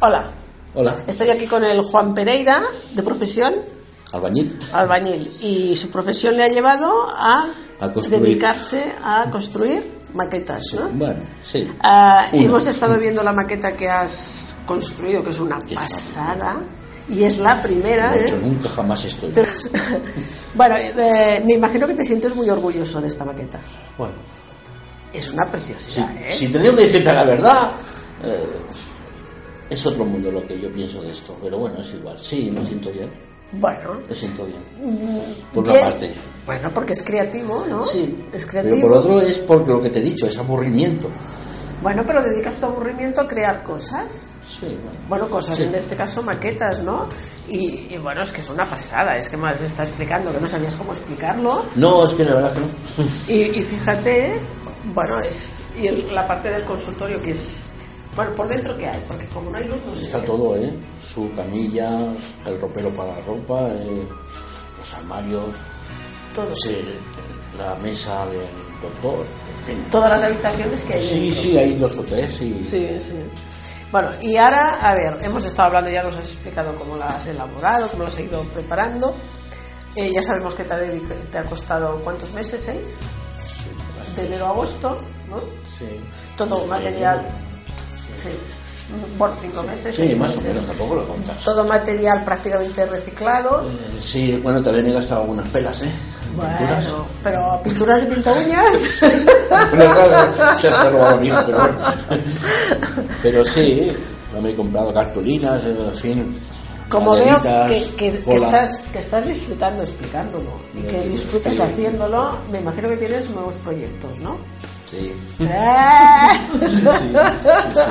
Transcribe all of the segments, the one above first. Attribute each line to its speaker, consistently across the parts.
Speaker 1: Hola,
Speaker 2: Hola,
Speaker 1: estoy aquí con el Juan Pereira, de profesión
Speaker 2: albañil.
Speaker 1: albañil, y su profesión le ha llevado a,
Speaker 2: A construir.
Speaker 1: dedicarse a construir maquetas, ¿no?
Speaker 2: Bueno, sí.
Speaker 1: Ah,
Speaker 2: Una.
Speaker 1: hemos estado viendo la maqueta que has construido, que es una
Speaker 2: Qué
Speaker 1: pasada, y es la primera,
Speaker 2: De hecho,
Speaker 1: ¿eh?
Speaker 2: nunca jamás estoy.
Speaker 1: bueno, eh, me imagino que te sientes muy orgulloso de esta maqueta.
Speaker 2: Bueno,
Speaker 1: Es una
Speaker 2: si,
Speaker 1: preciosidad, ¿eh?
Speaker 2: si tenemos que decirte la verdad, eh, es otro mundo lo que yo pienso de esto. Pero bueno, es igual. Sí, me siento bien.
Speaker 1: Bueno,
Speaker 2: Me siento bien. Por
Speaker 1: bien.
Speaker 2: una parte.
Speaker 1: Bueno, porque es creativo, ¿no?
Speaker 2: Sí,
Speaker 1: es
Speaker 2: pero
Speaker 1: creativo.
Speaker 2: por otro es porque lo que te he dicho, es aburrimiento.
Speaker 1: Bueno, pero dedicas tu aburrimiento a crear cosas.
Speaker 2: Sí, bueno.
Speaker 1: Bueno, cosas,
Speaker 2: Sí.
Speaker 1: en este caso maquetas, ¿no? Y, y bueno, es que es una pasada, es que más está explicando que no sabías cómo explicarlo.
Speaker 2: No, es que la verdad que no.
Speaker 1: Y, y fíjate, bueno, es. Y el- la parte del consultorio que es. Bueno, por dentro que hay, porque como no hay luz, pues no se
Speaker 2: Está
Speaker 1: ve.
Speaker 2: todo, ¿eh? Su camilla, el ropero para la ropa, eh, los armarios,
Speaker 1: todo.
Speaker 2: eh, la mesa del doctor, en fin.
Speaker 1: Todas las habitaciones que hay.
Speaker 2: Sí,
Speaker 1: dentro.
Speaker 2: sí, hay dos o tres y...
Speaker 1: Sí, sí. Bueno, y ahora, a ver, hemos estado hablando, ya nos has explicado cómo las has elaborado, cómo las has ido preparando. Eh, ya sabemos que te ha, dedic- te ha costado cuántos meses, seis, de enero a agosto, ¿no?
Speaker 2: Sí.
Speaker 1: Todo
Speaker 2: Sí.
Speaker 1: material. Sí. Bueno, cinco meses.
Speaker 2: Sí,
Speaker 1: seis
Speaker 2: más o
Speaker 1: meses.
Speaker 2: menos, tampoco lo contas.
Speaker 1: Todo material prácticamente reciclado.
Speaker 2: Eh, Sí, bueno, también he gastado algunas pelas, ¿eh? Pinturas.
Speaker 1: Bueno, pero pinturas y pinta uñas.
Speaker 2: Bueno, claro, se ha robado mío, pero bueno. Pero sí, me he comprado cartulinas, eh, en fin.
Speaker 1: Como veo
Speaker 2: banderitas,
Speaker 1: que, que- que
Speaker 2: cola.
Speaker 1: estás, que estás disfrutando explicándolo y
Speaker 2: Mira,
Speaker 1: que
Speaker 2: yo-
Speaker 1: disfrutas
Speaker 2: sí.
Speaker 1: haciéndolo, me imagino que tienes nuevos proyectos, ¿no?
Speaker 2: Sí.
Speaker 1: ¡Eh!
Speaker 2: Sí, sí, sí.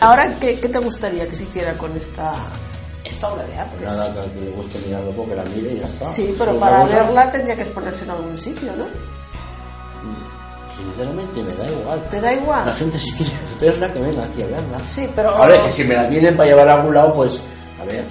Speaker 1: Ahora, ¿qué, qué te gustaría que se hiciera con esta, esta obra de arte?
Speaker 2: Nada, que al que le guste mirar loco, que la mire y ya está.
Speaker 1: Sí, pero
Speaker 2: Otra
Speaker 1: para
Speaker 2: pues, cosa,
Speaker 1: verla tendría que exponerse en algún sitio, ¿no?
Speaker 2: Sinceramente me da igual.
Speaker 1: ¿Te da igual?
Speaker 2: La gente si quiere verla, que venga aquí a verla.
Speaker 1: Sí, pero,
Speaker 2: Ahora, que si me la piden para llevar a algún lado, pues, a ver,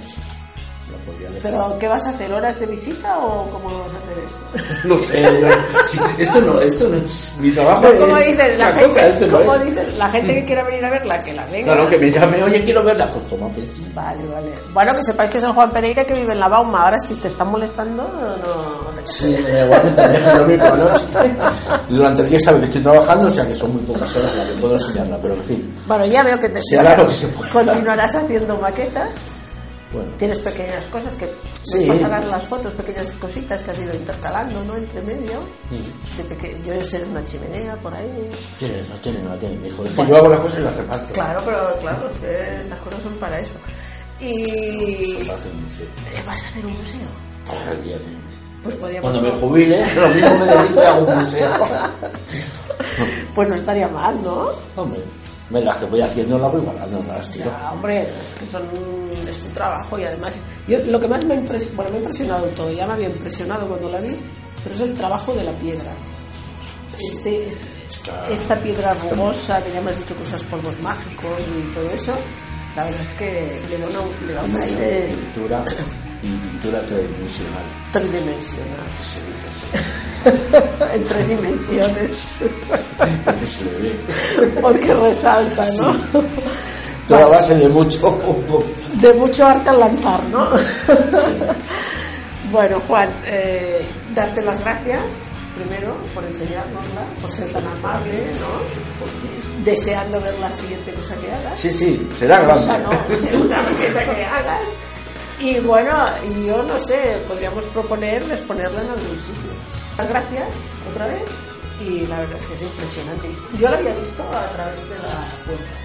Speaker 2: la podría dejar.
Speaker 1: pero ¿qué vas a hacer? ¿Horas de visita o cómo vas a hacer esto?
Speaker 2: No sé, yo- sí, esto, no, esto no es mi trabajo.
Speaker 1: ¿Cómo
Speaker 2: es
Speaker 1: dices? La
Speaker 2: otra
Speaker 1: gente,
Speaker 2: cosa, esto no
Speaker 1: ¿cómo
Speaker 2: es. Mm.
Speaker 1: dices? La gente que quiera venir a verla, que la venga.
Speaker 2: Claro, que me llame, oye, quiero verla. Pues toma, pues.
Speaker 1: Vale, vale. Bueno, que sepáis que es el Juan Pereira que vive en la Bauma. Ahora, si te están molestando, no, no te
Speaker 2: Sí, me da igual, te dejo dormir por la noche. Durante el día sabe que estoy trabajando, o sea que son muy pocas horas las que puedo enseñarla, pero en fin.
Speaker 1: Bueno, ya veo que te
Speaker 2: Se hará lo que se pueda.
Speaker 1: continuarás haciendo maquetas.
Speaker 2: Bueno,
Speaker 1: Tienes pequeñas cosas que
Speaker 2: Sí.
Speaker 1: nos pasarás las fotos, pequeñas cositas que has ido intercalando, ¿no? Entre medio.
Speaker 2: Mm.
Speaker 1: De peque- Yo sé una chimenea por ahí.
Speaker 2: tienes, no tienes, no tienes, hijo. Es que yo hago las cosas y las reparto.
Speaker 1: Claro, pero claro, es que estas cosas son para eso.
Speaker 2: Se
Speaker 1: Y eh,
Speaker 2: lo hace un museo.
Speaker 1: vas a hacer un museo. Pues podríamos.
Speaker 2: Cuando me jubile, lo mismo me dedico y hago un museo.
Speaker 1: Pues no estaría mal, ¿no?
Speaker 2: Hombre, me las que voy haciendo las voy guardando, no las tiro.
Speaker 1: Ya, hombre, es que son, es tu trabajo y además, yo, lo que más me, ha impres- bueno, me ha impresionado en todo, ya me había impresionado cuando la vi, pero es el trabajo de la piedra. Este, este-
Speaker 2: Está-
Speaker 1: esta piedra rugosa, que ya me has dicho que usas polvos mágicos y todo eso, la verdad es que le da una, este le da un
Speaker 2: Hombre,
Speaker 1: aire
Speaker 2: pintura y pintura tridimensional,
Speaker 1: tridimensional,
Speaker 2: que se dice
Speaker 1: en tres dimensiones,
Speaker 2: así, porque se le ve.
Speaker 1: porque resalta, ¿no?
Speaker 2: Toda base de mucho.
Speaker 1: De mucho arte al lanzar, ¿no? bueno, Juan, eh, darte las gracias primero por enseñárnosla, por ser tan amable, ¿no? Deseando ver la siguiente cosa que hagas.
Speaker 2: Sí, sí, será
Speaker 1: Cosa
Speaker 2: grande.
Speaker 1: no, segunda cosa que hagas. Y bueno, y yo no sé, podríamos proponer exponerla en algún sitio. Muchas gracias otra vez y la verdad es que es impresionante. Yo la había visto a través de la puerta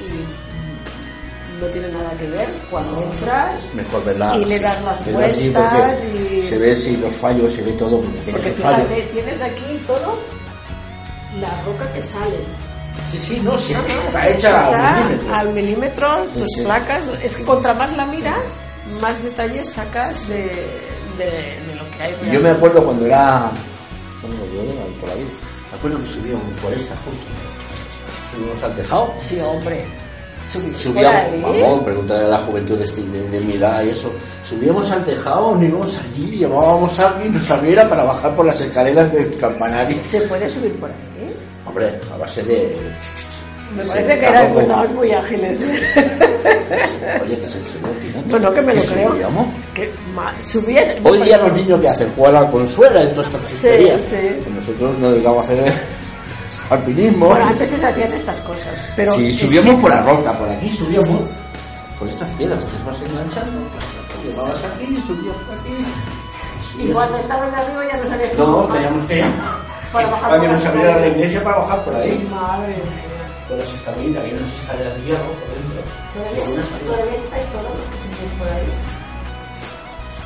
Speaker 1: y mm, no tiene nada que ver cuando entras.
Speaker 2: Es mejor verla.
Speaker 1: Y le
Speaker 2: así,
Speaker 1: das las
Speaker 2: verla así
Speaker 1: vueltas
Speaker 2: porque
Speaker 1: y-
Speaker 2: se ve si los fallos, se ve todo, porque tiene
Speaker 1: Porque
Speaker 2: sus fallos.
Speaker 1: fíjate, tienes aquí todo la roca que sale.
Speaker 2: Sí, sí, no, sí,
Speaker 1: No, no, es
Speaker 2: está
Speaker 1: que
Speaker 2: hecha
Speaker 1: está
Speaker 2: a milímetro.
Speaker 1: al milímetro,
Speaker 2: Sí,
Speaker 1: tus
Speaker 2: sí.
Speaker 1: placas. Es que contra más la miras, más detalles sacas de, de, de lo que hay.
Speaker 2: Yo me
Speaker 1: realmente.
Speaker 2: acuerdo cuando era. Bueno, yo era por ahí. Me acuerdo que subía un cuaresta justo. Subimos al tejado.
Speaker 1: Sí, hombre. Subí,
Speaker 2: Subíamos,
Speaker 1: por ahí.
Speaker 2: vamos, preguntarle a la juventud de, este- de- de mi edad y eso. Subíamos al tejado, nos íbamos allí, llamábamos a alguien, nos abriera para bajar por las escaleras del campanario.
Speaker 1: Se puede subir por ahí.
Speaker 2: Hombre, a base de.
Speaker 1: Me
Speaker 2: ¿eh? Sí,
Speaker 1: parece que eran
Speaker 2: tampoco.
Speaker 1: empezamos muy ágiles.
Speaker 2: Oye, que se enseñó,
Speaker 1: Pues No, no, que me lo creo.
Speaker 2: llamo?
Speaker 1: Que ma- subías-
Speaker 2: Hoy día los niños que hacen jugar al consuela y todas estas
Speaker 1: Sí,
Speaker 2: tonterías.
Speaker 1: sí.
Speaker 2: Que Nosotros nos dedicamos a hacer alpinismo.
Speaker 1: Bueno, antes se hacían estas cosas. Pero
Speaker 2: si
Speaker 1: es
Speaker 2: subíamos por la roca, por aquí subíamos por estas piedras, te vas enganchando, llevabas aquí y subíamos aquí.
Speaker 1: que- Y cuando estabas de arriba ya no sabías
Speaker 2: No,
Speaker 1: cómo-
Speaker 2: teníamos que
Speaker 1: Para bajar
Speaker 2: para que
Speaker 1: por
Speaker 2: nos
Speaker 1: la
Speaker 2: abriera la
Speaker 1: escalera.
Speaker 2: iglesia para bajar por ahí.
Speaker 1: Madre mía.
Speaker 2: Por las escaleritas, había unas escaleras de hierro por dentro. Y
Speaker 1: Todavía,
Speaker 2: algunas escaleras.
Speaker 1: todavía estáis todos los que sentís por ahí.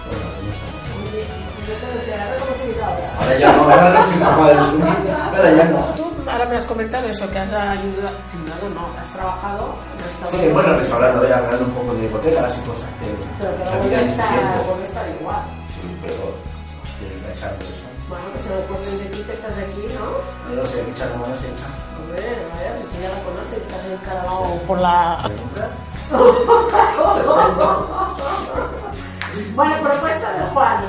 Speaker 2: Bueno, algunas no.
Speaker 1: Oye, yo te decía, ahora cómo subís ahora.
Speaker 2: Ahora ya no, ahora no soy capaz de subir. Ahora ya no.
Speaker 1: Tú ahora me has comentado eso, que has ayudado, ayudado, no, has trabajado,
Speaker 2: Sí,
Speaker 1: restaurante.
Speaker 2: bueno, restaurando, voy hablando un poco de hipotecas y cosas que.
Speaker 1: Pero que no
Speaker 2: la
Speaker 1: vuelve
Speaker 2: vida
Speaker 1: a
Speaker 2: es
Speaker 1: estar,
Speaker 2: tiempo.
Speaker 1: vuelve a estar igual.
Speaker 2: Sí, pero quiero enganchar por eso.
Speaker 1: Bueno, que se lo ponen de ti que estás aquí, ¿no?
Speaker 2: No lo sé, mucha como no se echa.
Speaker 1: Ah. Hombre, vaya, que tú ya la conoces, estás encargado por la...
Speaker 2: ¿Me compras?
Speaker 1: Bueno, propuesta de Juan.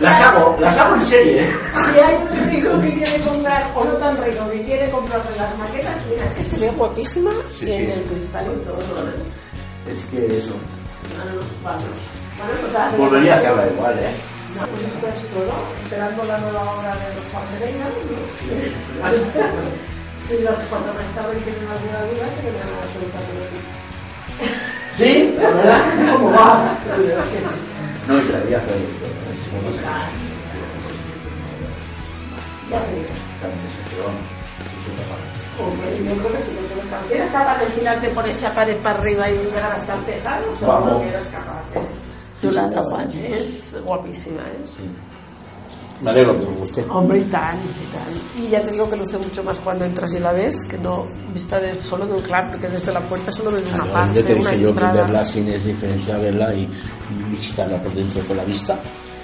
Speaker 2: Las hago, las hago en serie, ¿eh?
Speaker 1: Si hay un rico que quiere comprar, o no tan rico, que quiere comprarle las maquetas, mira, es que se ve guapísima
Speaker 2: Sí,
Speaker 1: y en
Speaker 2: sí.
Speaker 1: el cristal y todo. ¿eh?
Speaker 2: Es que eso.
Speaker 1: No, no, vale. Bueno, pues ahora-
Speaker 2: Volvería a hacerla igual, ¿eh?
Speaker 1: No, pues esto es todo. Esperando la nueva obra de Juan Pereira. ¿no? Si los cuando restauren tienen alguna duda, que me hagan absolutamente.
Speaker 2: Sí, la verdad es que sí, como va. No, y la voy a hacer. ¿eh? Si no pasa
Speaker 1: Ya te digo.
Speaker 2: nada. También se quedó. Es un trabajo.
Speaker 1: Hombre, yo creo que sí que tengo capaz. ¿Eres capaz de enfilarte por esa pared para arriba y llegar hasta el tejado?
Speaker 2: Vamos.
Speaker 1: Seguro que eres capaz. ¿eh?
Speaker 2: Sí, sí,
Speaker 1: Yolanda
Speaker 2: claro.
Speaker 1: Juan, es guapísima, ¿eh?
Speaker 2: Me alegro que me guste.
Speaker 1: Hombre, y tal, y tal. Y ya te digo que luce mucho más cuando entras y la ves, que no vista de, solo de un claro, porque desde la puerta solo ves una parte,
Speaker 2: yo te
Speaker 1: una
Speaker 2: dije yo que
Speaker 1: entrada.
Speaker 2: verla sin es diferente a verla y visitarla por dentro con la vista.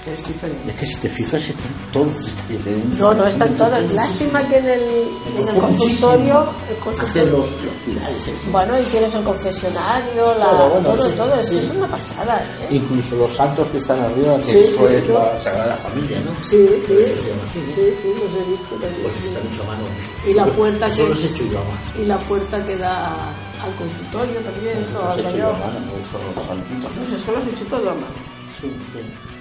Speaker 1: Es diferente.
Speaker 2: Es que si te fijas, están todos. están dentro.
Speaker 1: No, no, están todas. Lástima que en el, en el
Speaker 2: costó
Speaker 1: consultorio...
Speaker 2: muchísimo
Speaker 1: el
Speaker 2: Hacer
Speaker 1: consultorio
Speaker 2: los, ¿eh? los pilares, eso.
Speaker 1: bueno, y tienes el confesionario, la,
Speaker 2: Todo,
Speaker 1: todo,
Speaker 2: bueno,
Speaker 1: todo,
Speaker 2: sí,
Speaker 1: Es que
Speaker 2: sí.
Speaker 1: es una pasada, ¿eh?
Speaker 2: Incluso los santos que están arriba, que
Speaker 1: Sí,
Speaker 2: eso
Speaker 1: sí,
Speaker 2: es
Speaker 1: sí.
Speaker 2: la Sagrada Familia, ¿no?
Speaker 1: Sí, sí,
Speaker 2: Eso se llama así,
Speaker 1: sí,
Speaker 2: ¿no?
Speaker 1: sí, los he visto también.
Speaker 2: Pues está hecho a mano.
Speaker 1: Y la puerta
Speaker 2: Eso
Speaker 1: que-
Speaker 2: los he hecho yo a mano.
Speaker 1: Y la puerta que da al consultorio también, todo
Speaker 2: Los he
Speaker 1: al
Speaker 2: Pues hecho yo a
Speaker 1: baño.
Speaker 2: mano, no son los santitos.
Speaker 1: Pues es que lo has hecho todo a mano.
Speaker 2: Sí, sí.